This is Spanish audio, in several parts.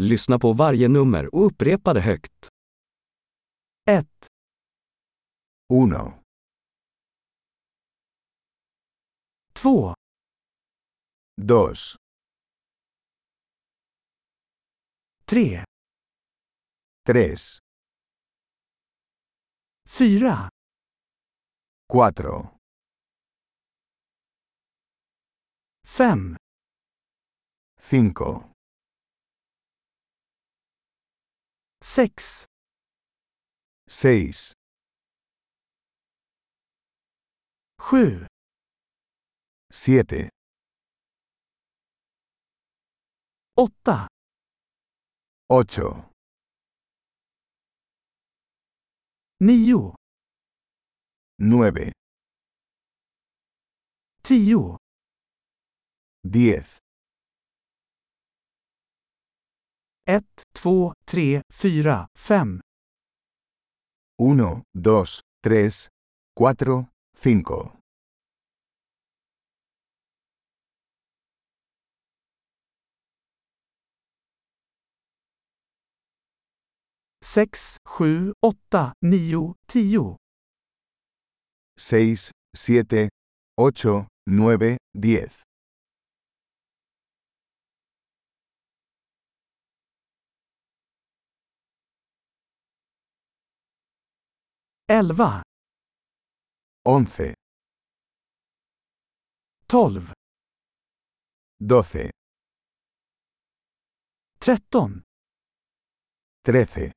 Lyssna på varje nummer och upprepa det högt. 1, 1, 2, 2, 3, 3, 4, 4, 5, 5, 6, 6, 7, 7, 8, 8, 9, 9, 10. 10, 1, 2, 3, 4, 5. 1, 2, 3, 4, 5. sex, sju, åtta, nio, tio, 6, 7, 8, 9, 10. elva, 11, tolv, 12, tretton, 13,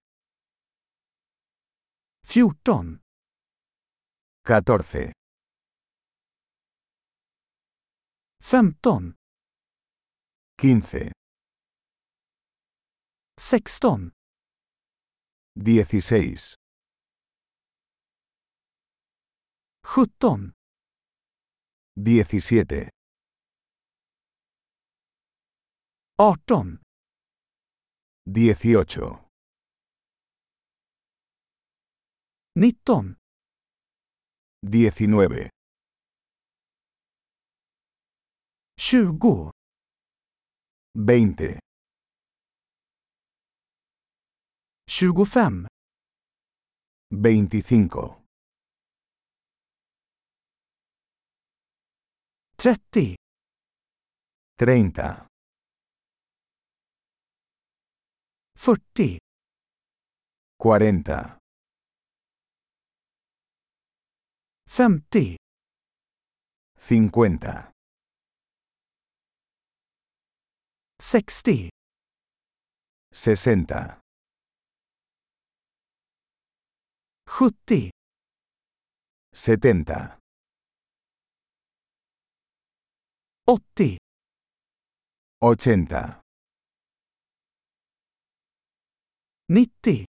fjorton, 14, femton, 15, sexton, 16, sjutton, 17, arton, 18, nitton, 19, tjugo, 20, tjugofem, 25, trettio, 30, fyrtio, 40, femtio, 50, sextio, 60, sjuttio, 70, åttio, 80, nittio,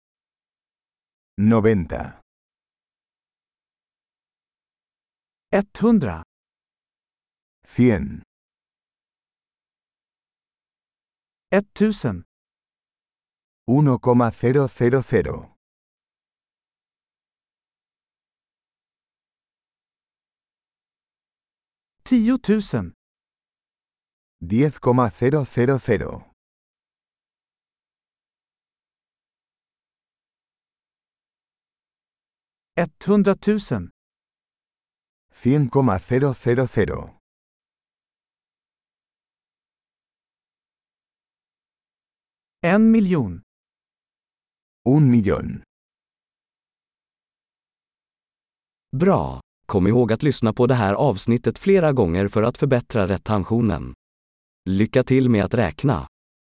90, etthundra, 100, etttusen, 1,000, tiotusen, 10,000, etthundratusen, 100,000. en miljon, Un millón. Bra! Kom ihåg att lyssna på det här avsnittet flera gånger för att förbättra retentionen. Lycka till med att räkna!